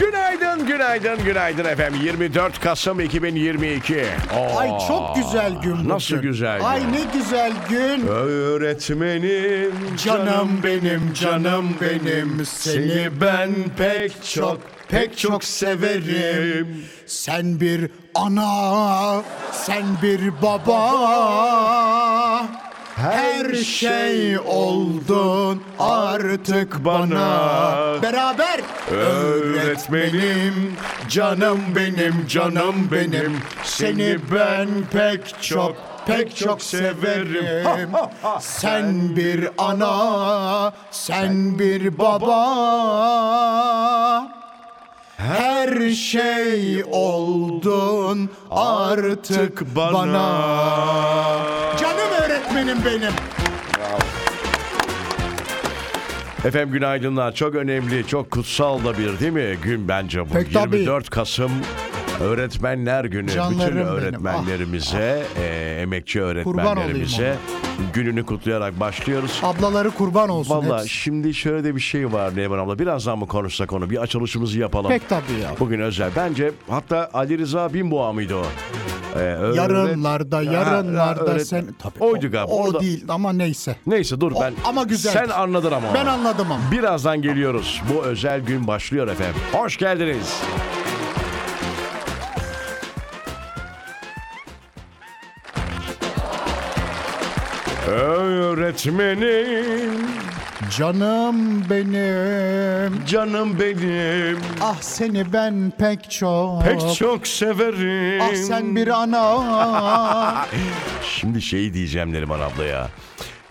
Günaydın, günaydın, günaydın efendim. 24 Kasım 2022. Oo, Ay çok güzel gün bugün. Nasıl güzel gün? Ay ne güzel gün. Öğretmenim, Canım benim, canım benim. Seni ben pek çok, pek çok severim. Sen bir ana, sen bir baba. Ah, Her şey oldun artık bana. Beraber öğretmenim, canım benim, canım benim. Seni ben pek çok, pek çok severim. Sen bir ana, sen bir baba. Her şey oldun artık bana. Canım öğretmenim benim. Efendim günaydınlar. Çok önemli, çok kutsal da bir değil mi gün bence bu. Pek tabii. 24 Kasım Öğretmenler Günü. Canlarım Bütün benim. Ah, öğretmenlerimize, e, emekçi öğretmenlerimize gününü kutlayarak başlıyoruz. Ablaları kurban olsun Valla Ah, hepsi. şimdi şöyle de bir şey var Neyman abla. Birazdan mı konuşsak onu? Bir açılışımızı yapalım. Pek tabii ya. Bugün özel. Bence hatta Ali Rıza Binboğa mıydı o? Ee, öğret- Yarınlarda, Ha, yarınlarda öğret- sen... Tabii, Oydu galiba. O, Orada- değil ama neyse. Neyse dur ben. ama güzeldi. Sen anladın ama. Ben anladım ama. Birazdan geliyoruz. Bu özel gün başlıyor efendim. Hoş geldiniz. Öğretmenim, Canım benim. canım benim, Ah seni ben pek çok. pek çok severim. Ah sen bir ana. Şimdi şey diyeceğim Neriman abla ya.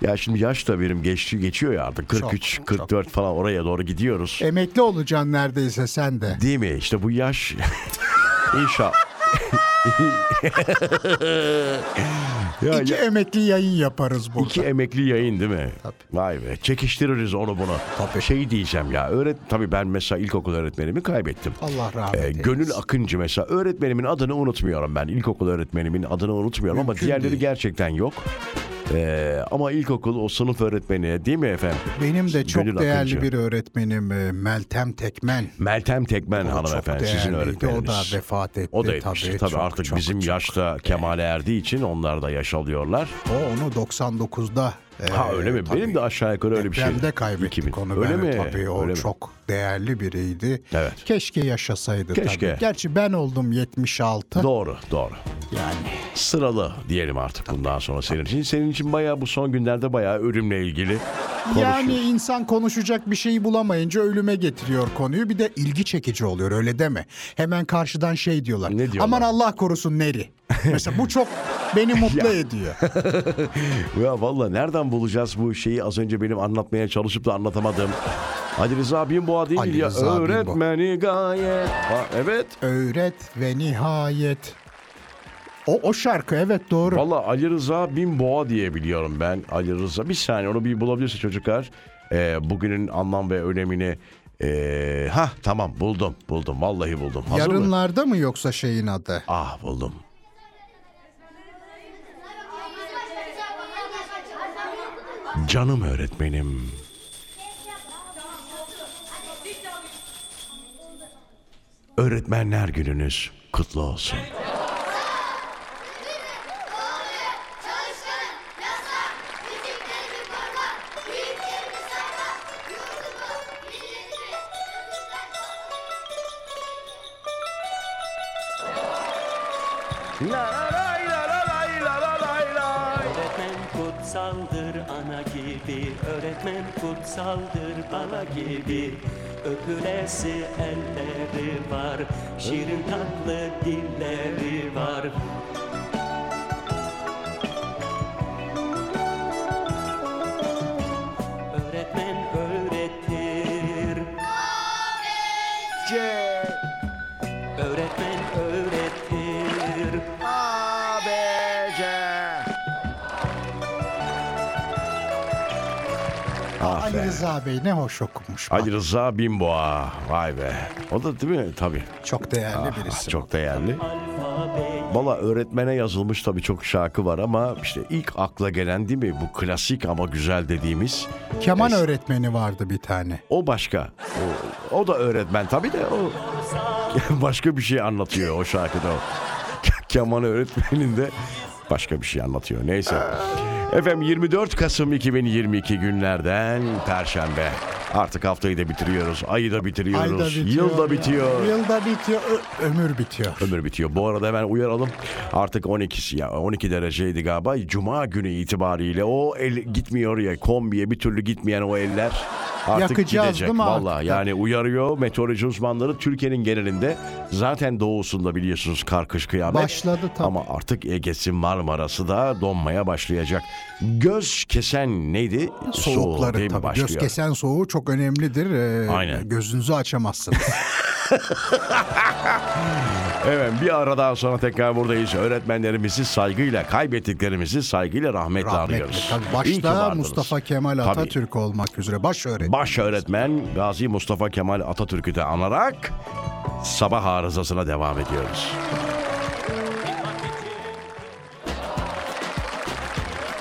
Ya şimdi yaş da benim geçti geçiyor ya artık 43, 44 falan oraya doğru gidiyoruz. Emekli olacaksın neredeyse sen de. Değil mi? İşte bu yaş. İnşallah. ya, İki ya- emekli yayın yaparız burada. iki emekli yayın değil mi? Vay be. Çekiştiririz onu bunu. Şey diyeceğim ya. Öğret tabii ben mesela ilkokul öğretmenimi kaybettim. Allah rahmet Ee, eylesin. Gönül Akıncı mesela öğretmenimin adını unutmuyorum ben. İlkokul öğretmenimin adını unutmuyorum ama Mümkün diğerleri değil. gerçekten yok. Ee, ama ilkokul o sınıf öğretmeni değil mi efendim? Benim de çok Gönül değerli Akıncı. bir öğretmenim e, Meltem Tekmen. Meltem Tekmen hanımefendi sizin değerliydi. öğretmeniniz. O da vefat etti. O da yetmiş. Tabii, çok, artık çok, bizim çok. yaşta kemale erdiği için onlar da yaş alıyorlar. O onu 99'da. e, Ha öyle mi? tabii Benim de aşağı yukarı öyle bir şey. depremde kaybettik 2000. onu. Öyle ben. mi? Tabii o Öyle mi? çok değerli biriydi. Evet. Keşke yaşasaydı Keşke. tabii. Gerçi ben oldum 76. Doğru, doğru. yani Sıralı diyelim artık bundan sonra senin için. Senin için bayağı bu son günlerde bayağı ölümle ilgili konuşuyoruz. Yani insan konuşacak bir şey bulamayınca ölüme getiriyor konuyu. Bir de ilgi çekici oluyor öyle deme. Hemen karşıdan şey diyorlar. Ne diyorlar? Aman Allah korusun neri. Mesela bu çok beni mutlu Ya. ediyor. Ya valla nereden bulacağız bu şeyi az önce benim anlatmaya çalışıp da anlatamadım. Ali Rıza Binboğa değil Ali ya. Rıza Binboğa. Öğretmeni gayet. Ha, evet. Öğret ve nihayet. O, o şarkı evet doğru. Valla Ali Rıza Binboğa diye biliyorum ben. Ali Rıza. Bir saniye onu bir bulabilirse çocuklar. Ee, bugünün anlam ve önemini. Ee, ha tamam buldum buldum vallahi buldum. Hazır mı? Yarınlarda mı yoksa şeyin adı? Ah buldum. Canım öğretmenim. Öğretmenler gününüz kutlu olsun. Öğretmen kutsaldır ana gibi Öğretmen kutsaldır bala gibi Öpülesi elleri var Şirin tatlı dilleri var Öğretmen öğretir Öğretmen öğretir Ali Rıza Bey ne hoş okumuş. Bak, Ali Rıza Binboğa. Vay be. O da değil mi? Tabii. Ah, Çok değerli birisi. Çok değerli. Alfa ağabey Valla öğretmene yazılmış tabii çok şarkı var ama işte ilk akla gelen değil mi bu klasik ama güzel dediğimiz Keman öğretmeni vardı bir tane. o başka. O, o da öğretmen tabii de o başka bir şey anlatıyor o şarkıda o. Keman öğretmeninde başka bir şey anlatıyor. Neyse. Efendim 24 Kasım 2022 günlerden Perşembe. Artık haftayı da bitiriyoruz. Ayı da bitiriyoruz. Yıl da bitiyor. Yılda bitiyor. Ö- ömür bitiyor. Ömür bitiyor. Bu arada hemen uyaralım. Artık 12 ya 12 dereceydi galiba. Cuma günü itibariyle o el gitmiyor ya kombiye bir türlü gitmeyen o eller artık Yakacağız gidecek. değil mi Vallahi artık? yani uyarıyor meteoroloji uzmanları Türkiye'nin genelinde zaten doğusunda biliyorsunuz kar kış kıyamet. Başladı tabii. Ama artık Ege'si Marmara'sı da donmaya başlayacak. Göz kesen neydi? Soğuğu Soğukları değil mi? tabii. Başlıyor. Göz kesen soğuğu çok önemlidir. Ee, Aynen. Gözünüzü açamazsınız. Evet bir aradan sonra tekrar buradayız. Öğretmenlerimizi saygıyla, kaybettiklerimizi saygıyla rahmetle, arıyoruz. Tabii İyi ki başta vardınız. Mustafa Kemal Tabii. Atatürk olmak üzere baş öğretmen. Baş öğretmen Gazi Mustafa Kemal Atatürk'ü de anarak sabah arızasına devam ediyoruz.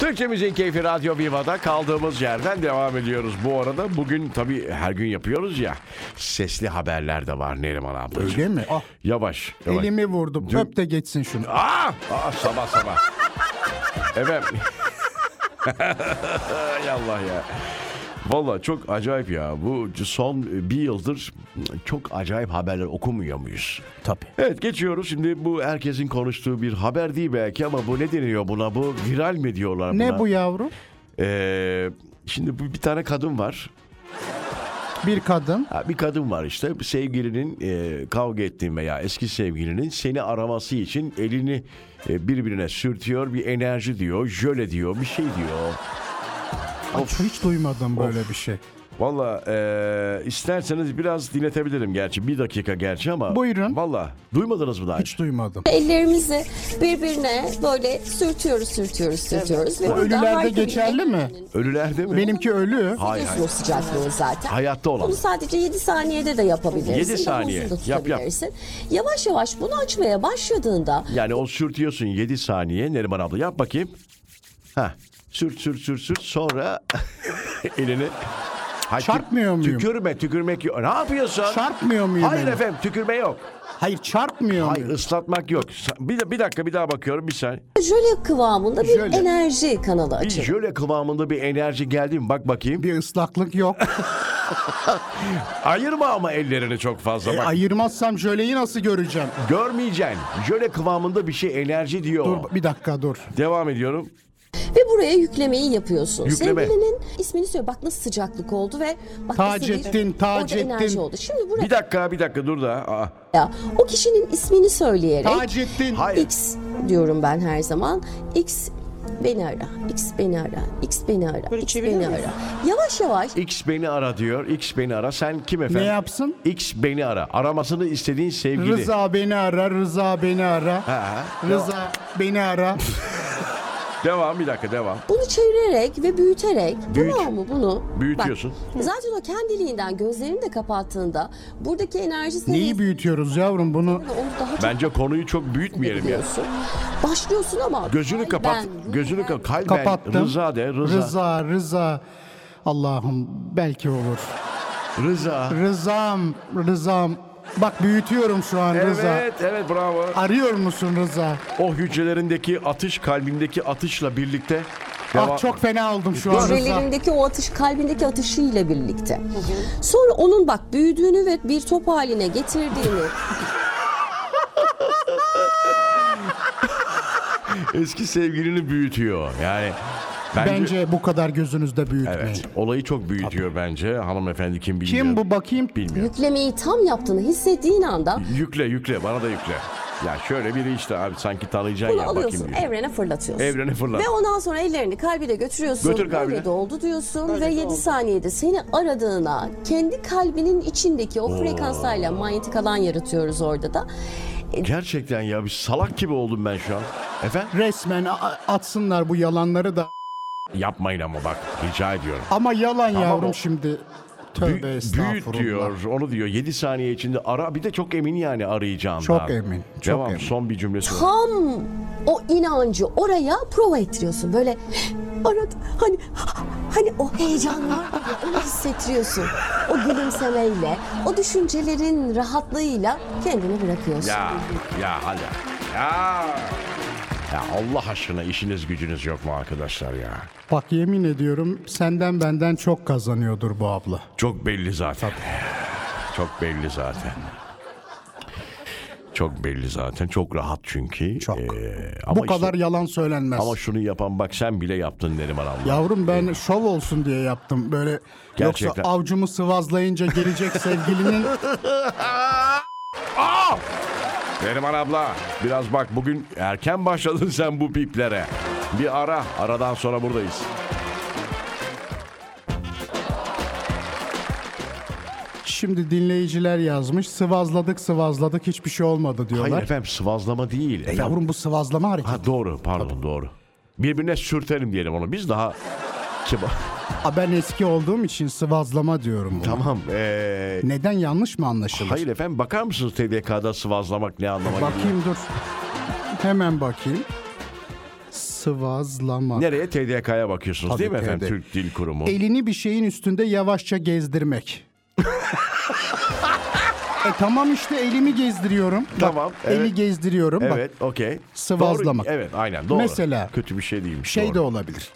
Türkçe Müziğin Keyfi Radyo Viva'da kaldığımız yerden devam ediyoruz. Bu arada bugün tabii her gün yapıyoruz ya sesli haberler de var Neriman ablacığım. Öyle mi? Ah, Yavaş. yavaş. elimi vurdum. Öp de geçsin şunu. Aa! Aa Ah! sabah sabah. evet. Hay Allah ya. Valla çok acayip ya. Bu son bir yıldır çok acayip haberler okumuyor muyuz? Tabii. Evet geçiyoruz. Şimdi bu herkesin konuştuğu bir haber değil belki ama bu ne deniyor buna? Bu viral mi diyorlar buna? Ne bu yavrum? Ee, şimdi bu bir tane kadın var. Bir kadın. Ha, bir kadın var işte sevgilinin e, kavga ettiğin veya eski sevgilinin seni araması için elini e, birbirine sürtüyor bir enerji diyor jöle diyor bir şey diyor. Ay, hiç duymadım böyle bir şey. Valla e, isterseniz biraz dinletebilirim gerçi bir dakika gerçi ama. Buyurun. Valla duymadınız mı daha önce? Hiç duymadım. Ellerimizi birbirine böyle sürtüyoruz, sürtüyoruz, sürtüyoruz. Ve burada Ölülerde her gün geçerli mi? ellerinin Ölülerde mi? Benimki ölü. Hayır hayır. Biliyorsun o sıcaklığı zaten. Hayatta olan. Bunu sadece 7 saniyede de yapabilirsin. Yedi Daha saniye. uzun da Yap, yap. tutabilirsin. Yavaş yavaş bunu açmaya başladığında Yani o sürtüyorsun 7 saniye Neriman abla yap bakayım. Ha sürt sürt sürt sürt sonra elini Hayır, Çarpmıyor muyum? Tükürme tükürmek yok. Ne yapıyorsun? Çarpmıyor muyum Hayır elini? efendim tükürme yok. Hayır çarpmıyor Hayır mu? ıslatmak yok. Sa- Bir, bir dakika bir daha bakıyorum bir saniye. jöle kıvamında bir Jöle. enerji kanalı Bir açılıyor. jöle kıvamında bir enerji geldi mi? Bak bakayım. Bir ıslaklık yok. Ayırma ama ellerini çok fazla. E, Bak. ayırmazsam jöleyi nasıl göreceğim? Görmeyeceksin. Jöle kıvamında bir şey enerji diyor. Dur bir dakika dur. Devam ediyorum. Ve buraya yüklemeyi yapıyorsun. Yükleme. Sevgilinin ismini söyle. Bak nasıl sıcaklık oldu ve bak nasıl Tacettin, bir Tacettin. orada enerji oldu. Şimdi buraya Bir dakika bir dakika dur da. Aa, o kişinin ismini söyleyerek Taceddin. hayır. X diyorum ben her zaman. X beni ara, X beni ara, X beni ara, X beni ara. Yavaş yavaş X beni ara diyor. X beni ara. Sen kim efendim? Ne yapsın? X beni ara. Aramasını istediğin sevgili. Rıza beni ara, Rıza beni ara. Ha, Rıza beni ara. Devam bir dakika devam. bunu çevirerek ve büyüterek Büyüt. tamam mı bunu? Büyütüyorsun. Bak, zaten o kendiliğinden gözlerini de kapattığında buradaki enerji Neyi seviyesini büyütüyoruz yavrum bunu? onu daha çok Bence konuyu çok büyütmeyelim ya. biliyorsun. Başlıyorsun ama Gözünü kalben, kapat. Gözünü ruhen- kapat. Kalben. Kapattım. Rıza de. Rıza. Rıza. Rıza, Rıza. Allah'ım belki olur. Rızam, Rızam. Bak büyütüyorum şu an Rıza. Evet, evet bravo. Arıyor musun Rıza? O hücrelerindeki atış, kalbindeki atışla birlikte devam- Ah çok fena oldum şu an Rıza. Hücrelerindeki o atış, kalbindeki atışıyla birlikte. Sonra onun bak büyüdüğünü ve bir top haline getirdiğini eski sevgilini büyütüyor. Yani bence, Bence bu kadar gözünüzde büyütmeyin. evet. Olayı çok büyütüyor bence. Hanımefendi kim bilmiyor. Kim bu bakayım? Bilmiyorum. yüklemeyi tam yaptığını hissettiğin anda Yükle yükle bana da yükle. Ya şöyle biri işte abi sanki tanıyacaksın bunu ya bakayım alıyorsun diyor. evrene fırlatıyorsun. Evrene fırlat. Ve ondan sonra ellerini kalbine götürüyorsun. Götür kalbine. Böyle de oldu diyorsun ve 7 saniyede seni aradığına kendi kalbinin içindeki o frekanslarla manyetik alan yaratıyoruz orada da. Gerçekten ya bir salak gibi oldum ben şu an. Efendim? Resmen a- a- atsınlar bu yalanları da. Yapmayın ama bak rica ediyorum. Ama yalan Tamam yavrum o- şimdi. Tövbe Büyü- büyüt estağfurullah. diyor, onu diyor. 7 saniye içinde ara. Bir de çok emin yani arayacağından. Çok emin, çok Devam, emin. son bir cümlesi var. tam o inancı oraya prova ettiriyorsun. Böyle aradı hani hani o heyecan var ya, onu hissettiriyorsun. O gülümsemeyle, o düşüncelerin rahatlığıyla kendini bırakıyorsun. Ya, ya hadi. Ya. Ya Allah aşkına işiniz gücünüz yok mu arkadaşlar ya? Bak yemin ediyorum senden benden çok kazanıyordur bu abla. Çok belli zaten. Çok belli zaten. Çok belli zaten. Çok rahat çünkü. Ee, Çok. ama bu işte- kadar yalan söylenmez. ama şunu yapan bak sen bile yaptın Neriman abla. Yavrum ben şov olsun diye yaptım böyle. Gerçekten. Yoksa avcumu sıvazlayınca gelecek sevgilinin Neriman abla biraz bak bugün erken başladın sen bu piplere. Bir ara. Aradan sonra buradayız. şimdi dinleyiciler yazmış. Sıvazladık sıvazladık hiçbir şey olmadı diyorlar. Hayır efendim sıvazlama değil. E Efendim- Yavrum bu sıvazlama hareketi. Ha doğru pardon doğru. Birbirine sürtelim diyelim onu. Biz daha kibar. Ha, ben eski olduğum için sıvazlama diyorum. Tamam. tamam. ee, Neden yanlış mı anlaşılır? hayır efendim bakar mısınız TDK'da sıvazlamak ne anlama geliyor? Bakayım dur. Hemen bakayım. Sıvazlama. Nereye? TDK'ya bakıyorsunuz değil mi Tabii, efendim? TD. Türk Dil Kurumu. Elini bir şeyin üstünde yavaşça gezdirmek. e tamam işte elimi gezdiriyorum. Bak, Tamam, evet. Eli gezdiriyorum. Bak Evet, okey. Sıvazlamak. Doğru, evet, aynen doğru. Mesela- kötü bir şey değilmiş. şey doğru. de olabilir.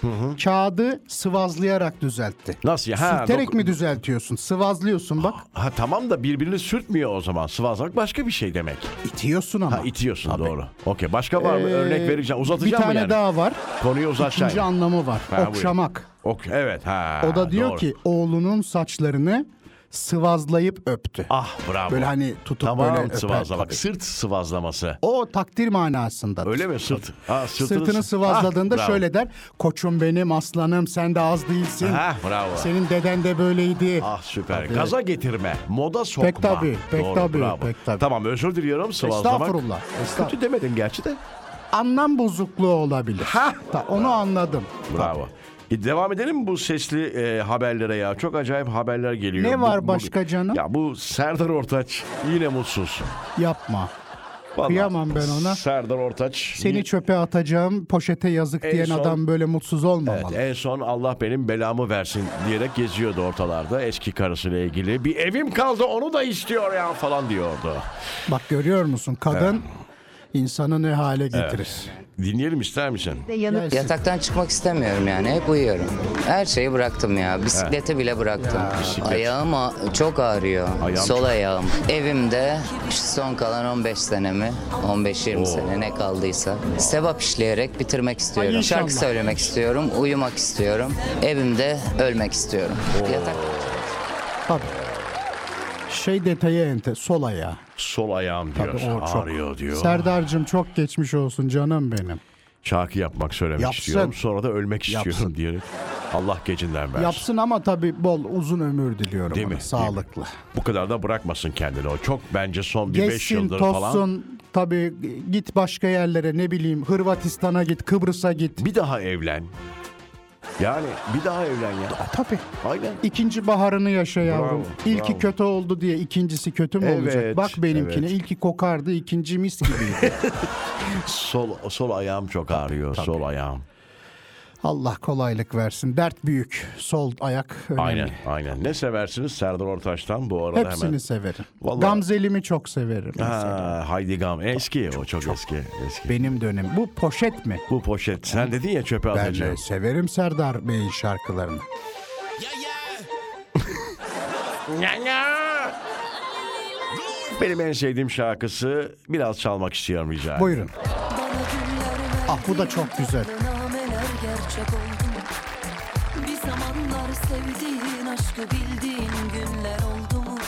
Kağıdı sıvazlayarak düzeltti. Nasıl ya? Ha, Sürterek doku- mi düzeltiyorsun? Sıvazlıyorsun bak. Ha tamam da birbirini sürtmüyor o zaman. Sıvazlamak başka bir şey demek. İtiyorsun ama. Ha itiyorsun doğru. Okey. Başka var mı? Ee, Örnek vereceğim. Uzatacağım Bir mı tane yani? daha var. Konuyu uzat İkinci Şahin. anlamı var. Ha, buyur. Okşamak. Okey. Evet ha. O da diyor doğru. ki oğlunun saçlarını sıvazlayıp öptü. Ah bravo. Böyle hani tutup tamam, böyle öper sıvazlamak. tabii. Sırt sıvazlaması. O takdir manasında. Öyle mi sırt? Ha, Sırtını sıvazladığında Ah, bravo. şöyle der. Koçum benim aslanım sen de az değilsin. Ha, bravo. Senin deden de böyleydi. Ah süper. Tabii. Gaza getirme. Moda sokma. tabii, pek Doğru, tabii, bravo. pek tabii. Tamam özür diliyorum sıvazlamak. Estağfurullah, estağfurullah. Kötü demedim gerçi de. Anlam bozukluğu olabilir. Ha! Ta- onu anladım. Bravo. E, devam edelim mi bu sesli e, haberlere ya. Çok acayip haberler geliyor. Ne Bu- var bu- başka canım? Ya bu Serdar Ortaç yine mutsuz. Yapma. Vallahi Kıyamam ben ona. Serdar Ortaç. Seni çöpe atacağım, poşete yazık En diyen son- adam böyle mutsuz Evet, olmamalı. en son Allah benim belamı versin diyerek geziyordu ortalarda eski karısıyla ilgili. Bir evim kaldı onu da istiyor ya falan diyordu. Bak görüyor musun kadın insanı ne hale getirir. Dinleyelim ister misin? Gelsin. Yataktan çıkmak istemiyorum yani. Hep uyuyorum. Her şeyi bıraktım ya. Bisiklete bile bıraktım. bisiklet. Ayağım a- çok ağrıyor. Ayağım Sol çok- ayağım. Evimde şu son kalan 15 senemi, 15-20 sene ne kaldıysa sevap işleyerek bitirmek istiyorum. Ay inşallah. Şarkı söylemek istiyorum, uyumak istiyorum. Evimde ölmek istiyorum. Yatak Tabii. Şey detayı ente sol ayağı. Sol ayağım diyor. Tabii o çok. Ağrıyor diyor. Serdar'cığım çok geçmiş olsun canım benim. Şarkı yapmak söylemek Yapsın. istiyorum. Sonra da ölmek istiyorum Yapsın. diyerek. Allah gecinden versin. Yapsın ama tabii bol uzun ömür diliyorum Değil ona, mi? sağlıklı. Değil mi? Bu kadar da bırakmasın kendini. O çok bence son bir 5 Geçsin, yıldır falan. tozsun. Tabii git başka yerlere ne bileyim Hırvatistan'a git, Kıbrıs'a git. Bir daha evlen. Yani bir daha evlen ya. Tabii. Aynen. İkinci baharını yaşa yavrum. İlki bravo. kötü oldu diye ikincisi kötü mü Evet, olacak? Bak benimkine. evet. ilki kokardı, ikinci mis gibiydi. Sol sol ayağım çok ağrıyor. Sol ayağım. Allah kolaylık versin. Dert büyük. Sol ayak önemli. Aynen, aynen. Ne seversiniz Serdar Ortaç'tan bu arada Hepsini hemen. severim. Vallahi- Gamzelimi çok severim. Ha, Haydi Gam. Eski o çok, eski. eski. Benim dönem. Bu poşet mi? Bu poşet. Sen dedin ya çöpe Ben de atacağım. severim Serdar Bey'in şarkılarını. Benim en sevdiğim şarkısı biraz çalmak istiyorum rica ederim. Buyurun. Ah bu da çok güzel. Bir zamanlar sevdiğin aşkı bildiğin günler oldu mu?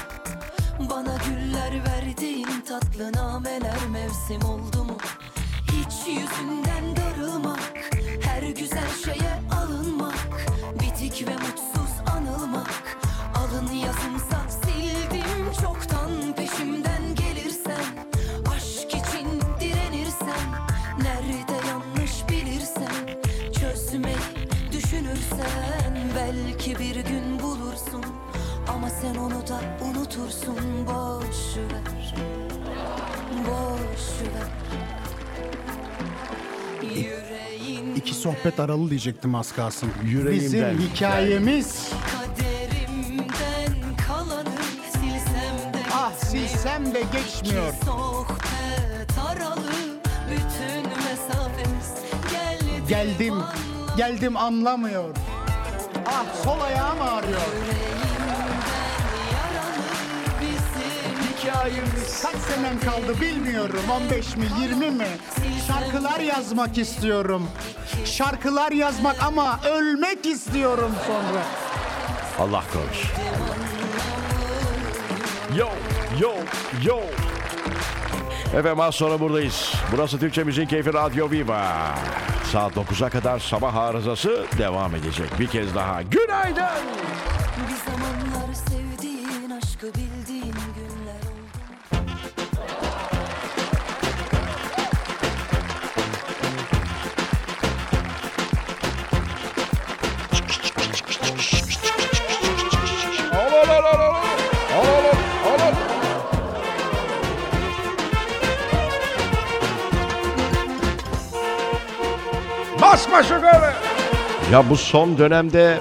Bana güller verdiğin tatlı nameler mevsim oldu mu? Hiç yüzünden darılmak, her güzel şeye alınmak, bitik ve mutsuz anılmak. Alın yazımsa sildim çoktan peşimden gelirsen, aşk için direnirsen, nerede yanlış bilirsen, çözmeyi düşünürsen belki bir gün bulursun. Ama sen onu da unutursun boş ver Boş ver Yüreğin İki sohbet aralı diyecektim az kalsın. Yüreğimden. Bizim hikayemiz. kaderimden kalanı silsem de Ah gitmiyor. silsem de geçmiyor. İki sohbet aralı bütün mesafemiz geldi Geldim, geldim anlamıyor. Ah sol ayağım ağrıyor. Hikayemiz kaç senem kaldı bilmiyorum 15 mi 20 mi Şarkılar yazmak istiyorum Şarkılar yazmak ama ölmek istiyorum sonra Allah korusun. Yo, yo, yo. Efendim az sonra buradayız. Burası Türkçe Müziğin Keyfi Radyo Viva. Saat 9'a kadar sabah arızası devam edecek. Bir kez daha günaydın. Bir zamanlar sevdiğin aşkı bildiğin günler oldu Al, al, al, al, al. Al, al, al, al, al. Basma şu golü. Ya bu son dönemde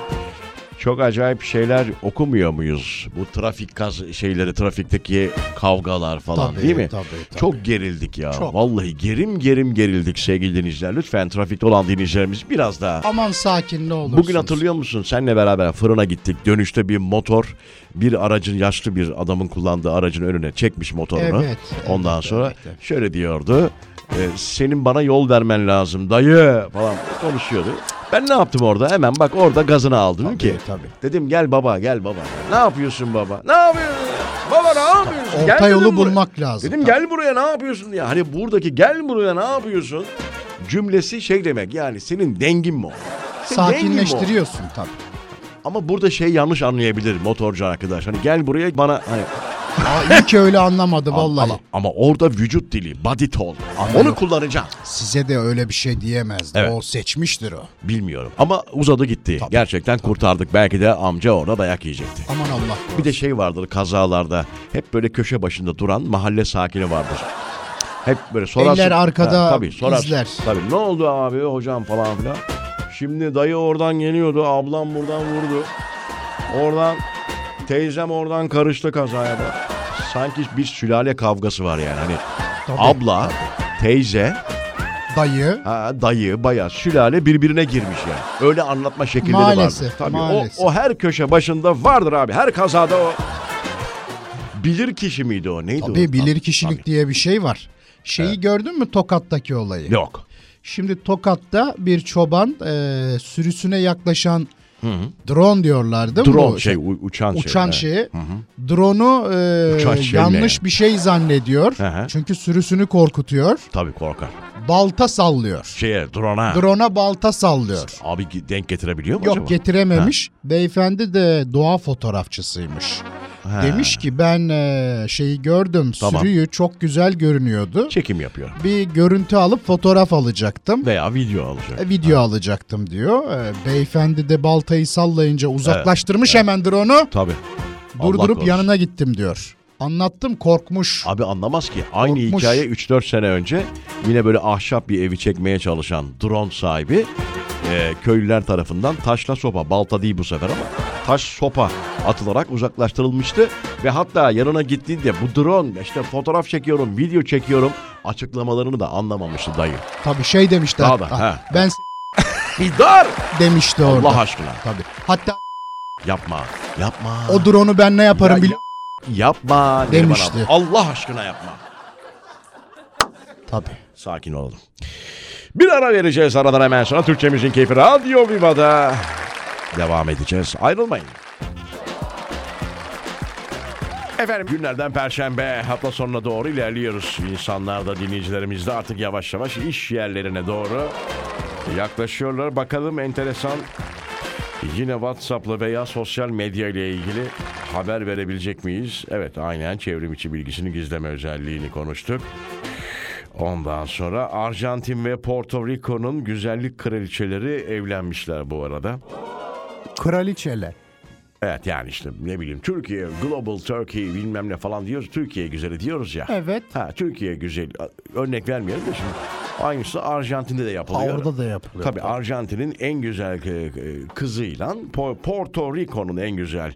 çok acayip şeyler okumuyor muyuz? Bu trafik kaz şeyleri, trafikteki kavgalar falan Tabii, değil mi? tabii, tabii. Çok gerildik ya. Çok. Vallahi gerim gerim gerildik sevgili dinleyiciler. Lütfen trafikte olan dinleyicilerimiz biraz daha Aman sakin ne olursunuz Bugün hatırlıyor musun? Senle beraber fırına gittik. Dönüşte bir motor, bir aracın yaşlı bir adamın kullandığı aracın önüne çekmiş motorunu. Evet, Ondan evet, sonra evet, evet. şöyle diyordu. "E, senin bana yol vermen lazım dayı falan konuşuyordu. Ben ne yaptım orada? Hemen bak orada gazını aldım ki. tabii. Dedim gel baba gel baba. Ne yapıyorsun baba? Ne yapıyorsun? Baba ne yapıyorsun? Orta Gel dedim yolu buraya. bulmak lazım. Dedim gel buraya ne yapıyorsun diye. Hani buradaki gel buraya ne yapıyorsun cümlesi şey demek yani senin dengin mi o? Senin dengin mi o? Sakinleştiriyorsun tabii Ama burada şey yanlış anlayabilir motorcu arkadaş. Hani gel buraya bana hani Aa, iyi ki öyle anlamadı vallahi ama, ama orada vücut dili body tone. Onu kullanacağım. Size de öyle bir şey diyemezdi Evet. o seçmiştir o Bilmiyorum. Ama uzadı gitti. Gerçekten kurtardık. Belki de amca orada dayak yiyecekti. Aman Allah Bir de şey vardır kazalarda. Hep böyle köşe başında duran mahalle sakini vardır. Hep böyle sorarsın. Eller arkada, sorarsın. izler. Tabii ne oldu abi hocam falan filan. Şimdi dayı oradan geliyordu. Ablam buradan vurdu. Oradan teyzem oradan karıştı kazaya bak. Sanki bir sülale kavgası var yani. Hani Tabii. abla, teyze, Dayı ha, dayı, bayağı sülale birbirine girmiş yani. Öyle anlatma şekilleri vardır. Maalesef, Tabii maalesef. O, o her köşe başında vardır abi. Her kazada o. Bilir kişi miydi o? Neydi o? Tabii bilir kişilik Tabii. diye bir şey var. Şeyi gördün mü Tokat'taki olayı? Yok. Şimdi Tokat'ta bir çoban e, sürüsüne yaklaşan drone diyorlar değil mi? Drone Bu? şey, u- uçan, uçan şey. şeyi. Drone'u e, Uçan şeyle yanlış yani. bir şey zannediyor. Hı hı. Çünkü sürüsünü korkutuyor. Tabii korkar. Balta sallıyor. Şeye, drone'a. Drone'a balta sallıyor. Abi ge- denk getirebiliyor mu Yok acaba? getirememiş. Beyefendi de doğa fotoğrafçısıymış. Demiş ki ben e, şeyi gördüm. Tamam. Sürüyü çok güzel görünüyordu. Çekim yapıyor. bir görüntü alıp fotoğraf alacaktım. Veya video alacak. E, Video alacaktım diyor. E, Beyefendi de baltayı sallayınca uzaklaştırmış hemendir onu. Tabii. Allah Durdurup korusun. yanına gittim diyor. Anlattım korkmuş. Abi anlamaz ki. Aynı Korkmuş. hikaye 3-4 sene önce yine böyle ahşap bir evi çekmeye çalışan drone sahibi e, köylüler tarafından taşla sopa, balta değil bu sefer ama taş sopa atılarak uzaklaştırılmıştı. Ve hatta yanına gittiğinde bu drone işte fotoğraf çekiyorum, video çekiyorum açıklamalarını da anlamamıştı dayı. Tabii şey demişti. Daha hatta, da, ha. Ben s- İdar! demişti orada. Allah aşkına. Tabii. Hatta Yapma. Yapma. o drone'u ben ne yaparım Ya- biliyor Yapma. dedi bana. Demişti. Allah aşkına yapma. Tabii. Sakin olalım. Bir ara vereceğiz aradan hemen sonra Türkçe Müziğin Keyfi Radyo Viva'da devam edeceğiz. Ayrılmayın. Efendim günlerden perşembe hafta sonuna doğru ilerliyoruz. İnsanlar da dinleyicilerimiz de artık yavaş yavaş iş yerlerine doğru yaklaşıyorlar. Bakalım enteresan yine WhatsApp'la veya sosyal medya ile ilgili haber verebilecek miyiz? Evet aynen çevrim içi bilgisini gizleme özelliğini konuştuk. Ondan sonra Arjantin ve Porto Rico'nun güzellik kraliçeleri evlenmişler bu arada. Kraliçeler. Evet yani işte ne bileyim Türkiye, Global Turkey bilmem ne falan diyoruz. Türkiye güzeli diyoruz ya. Evet. Ha, Türkiye güzeli. Örnek vermeyelim de şimdi. Aynısı Arjantin'de de yapılıyor. Ha, orada da yapılıyor. Tabii Arjantin'in en güzel e, e, kızıyla Po- Porto Rico'nun en güzel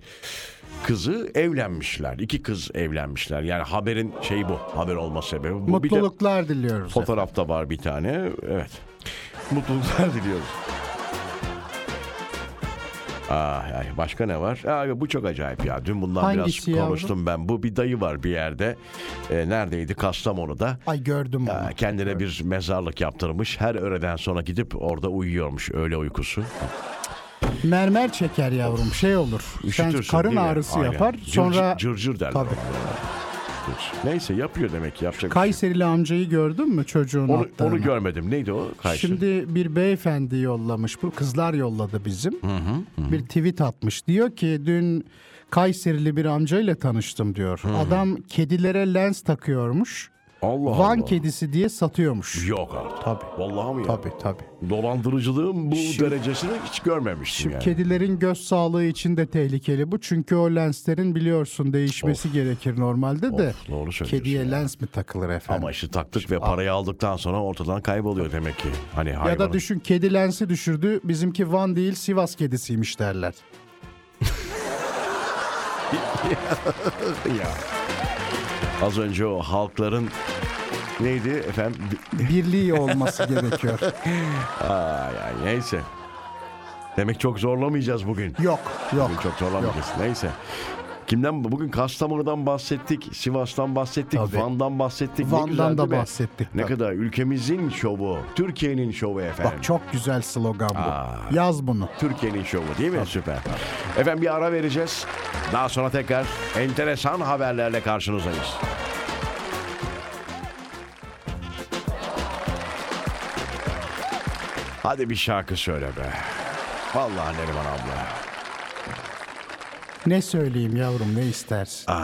kızı evlenmişler. İki kız evlenmişler. Yani haberin şeyi bu. Haber olma sebebi bu. Bir de- Mutluluklar diliyoruz. Fotoğrafta var bir tane. Evet. Mutluluklar diliyoruz. Ay, Ah, ay, başka ne var? Ay, bu çok acayip ya. Dün bundan biraz Hangisi yavrum? konuştum ben. Bu bir dayı var bir yerde. E, neredeydi? Kastamonu'da. Ay gördüm onu. Ha, kendine bir mezarlık yaptırmış. Her öğleden sonra gidip orada uyuyormuş. Öğle uykusu. Mermer çeker yavrum şey olur. Sen Üşütürsün karın değil mi? ağrısı Aynen. yapar. Cırcır- Sonra Cırcır derler. Tabii. ona. Neyse yapıyor demek ki. Yapacak bir şey yok. Kayserili amcayı gördün mü çocuğun onu, attığını? onu görmedim. Neydi o? Kayser. Şimdi bir beyefendi yollamış. Bu kızlar yolladı bizim. Bir tweet atmış. Diyor ki dün Kayserili bir amcayla tanıştım diyor. Adam kedilere lens takıyormuş. Allah Van Allah. kedisi diye satıyormuş. Yok artık. Tabii. Vallahi mi ya? Tabii tabii. Dolandırıcılığın bu Şimdi- derecesini hiç görmemiştim Şimdi yani. kedilerin göz sağlığı için de tehlikeli bu. Çünkü o lenslerin biliyorsun değişmesi gerekir normalde de. Of, doğru söylüyorsun Kediye ya. lens mi takılır efendim? Ama işte taktık ve parayı aldıktan sonra ortadan kayboluyor demek ki. Hani hayvanın. ya da düşün kedi lensi düşürdü. Bizimki Van değil Sivas kedisiymiş derler. Ya. Az önce o halkların neydi efendim? Birliği olması gerekiyor. Ay, ay, neyse. Demek çok zorlamayacağız bugün. Yok yok. Bugün çok zorlamayacağız. Neyse. Kimden bugün Kastamonu'dan bahsettik, Sivas'tan bahsettik, Tabii. Van'dan bahsettik. Ne Van'dan güzel da değil mi? bahsettik, Ne tabii. kadar ülkemizin şovu, Türkiye'nin şovu efendim. Bak çok güzel slogan bu. Ah. Yaz bunu. Türkiye'nin şovu değil mi? Süper. Efendim bir ara vereceğiz. Daha sonra tekrar enteresan haberlerle karşınızdayız. Hadi bir şarkı söyle be. Vallahi Neriman abla. Ne söyleyeyim yavrum ne istersin? Bak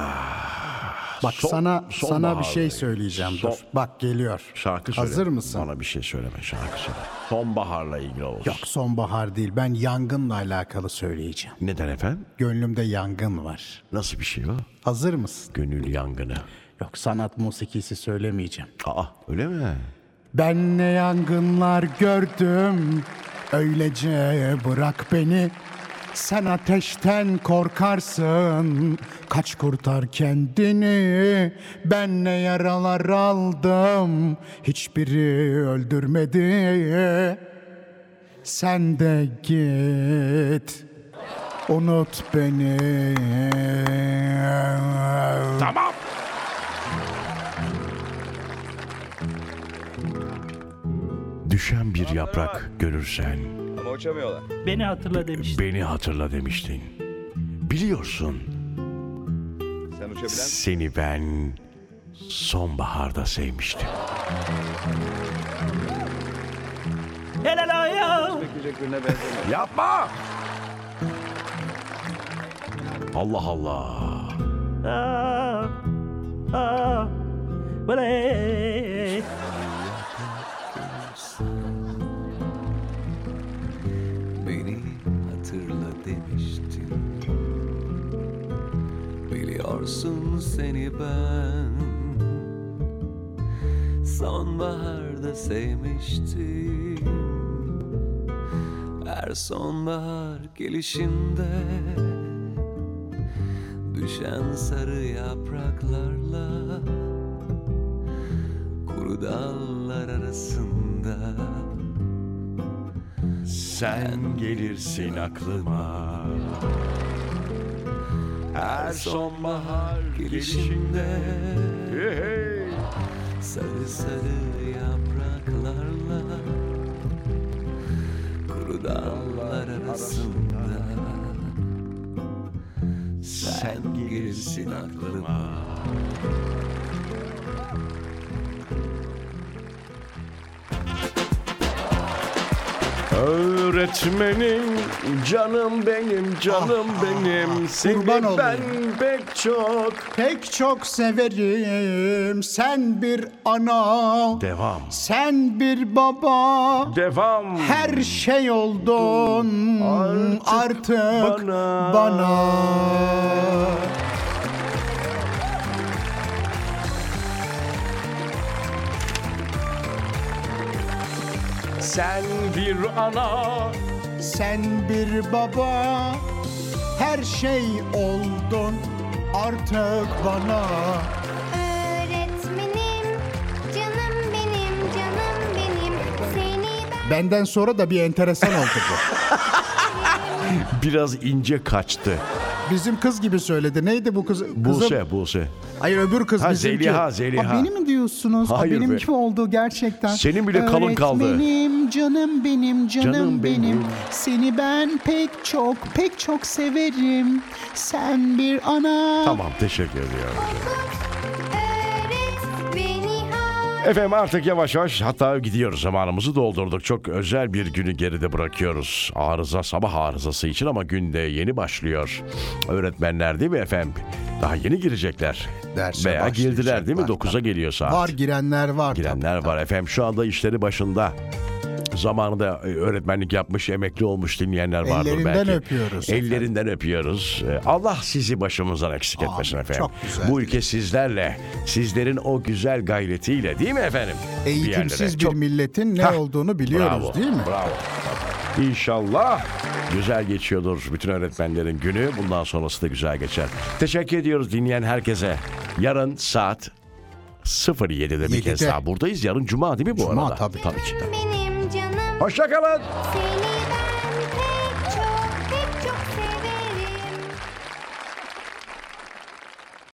Ah. son- sana son sana bir bahardayım. şey söyleyeceğim. Son- Dur. Bak geliyor. Şarkı söyle. Hazır mısın? Bana bir şey söyleme şarkı söyle. Sonbaharla ilgili olsun. Yok sonbahar değil. Ben yangınla alakalı söyleyeceğim. Neden efendim? Gönlümde yangın var. Nasıl bir şey o? Hazır mısın? Gönül yangını. Yok sanat musikisi söylemeyeceğim. Aa öyle mi? Ben ne yangınlar gördüm. Öylece bırak beni. Sen ateşten korkarsın. Kaç kurtar kendini. Ben ne yaralar aldım. Hiçbiri öldürmedi. Sen de git. Unut beni. Tamam. Düşen bir yaprak görürsen Beni hatırla demiştim. beni hatırla demiştin. Biliyorsun seni ben sonbaharda sevmiştim. Helal ayağı. Yapma! Allah Allah. Ah, ah, böyle. Beni hatırla demiştin Biliyorsun seni ben Sonbaharda sevmiştim Her sonbahar gelişinde Düşen sarı yapraklarla Kuru dallar arasında Sen gelirsin aklıma. Her sonbahar gelişinde Sarı sarı yapraklarla Kuru dallar arasında Sen gelirsin aklıma Öyle öğretmenim canım benim canım benim seni kurban olayım. ben pek çok Pek çok severim sen bir ana devam sen bir baba devam her şey oldun artık, bana. bana. sen bir ana sen bir baba her şey oldun artık bana Öğretmenim, canım benim, canım benim. Seni ben Benden sonra da bir enteresan oldu bu. biraz ince kaçtı Bizim kız gibi söyledi. Neydi bu kız? Kızım. Buse Buse Hayır öbür kız şey. Ha, bizimki. Zeliha, Zeliha. Aa, beni mi diyorsunuz? Aa, Hayır benim be. kim oldu gerçekten? Senin bile kalın kaldı. Öğretmenim, canım benim, canım, Canım benim. benim. Seni ben pek çok, pek çok severim. Sen bir ana. tamam teşekkür ediyorum öğret beni ha. Efendim artık yavaş yavaş hatta gidiyoruz zamanımızı doldurduk. Çok özel bir günü geride bırakıyoruz. Arıza sabah arızası için ama günde yeni başlıyor. Öğretmenler değil mi efendim? Daha yeni girecekler. Derse Veya girdiler değil mi? başlayacaklar. 9'a geliyor saat. Var girenler var. Girenler var efendim. Şu anda işleri başında. Zamanında e, öğretmenlik yapmış, emekli olmuş dinleyenler vardır Ellerinden belki. öpüyoruz efendim. Ellerinden öpüyoruz. E, Allah sizi başımızdan eksik etmesin efendim. çok güzel. Bu ülke sizlerle, sizlerin o güzel gayretiyle değil mi efendim? Bir yerlere. Eğitimsiz bir, Çok- milletin ne Hah, olduğunu biliyoruz bravo, değil mi? Bravo. İnşallah güzel geçiyordur bütün öğretmenlerin günü. Bundan sonrası da güzel geçer. Teşekkür ediyoruz dinleyen herkese. Yarın saat 07'de bir kez Yedide. daha buradayız. Yarın cuma değil mi bu Cuma arada? tabii. Tabii ki. Benim canım, Hoşçakalın. seni ben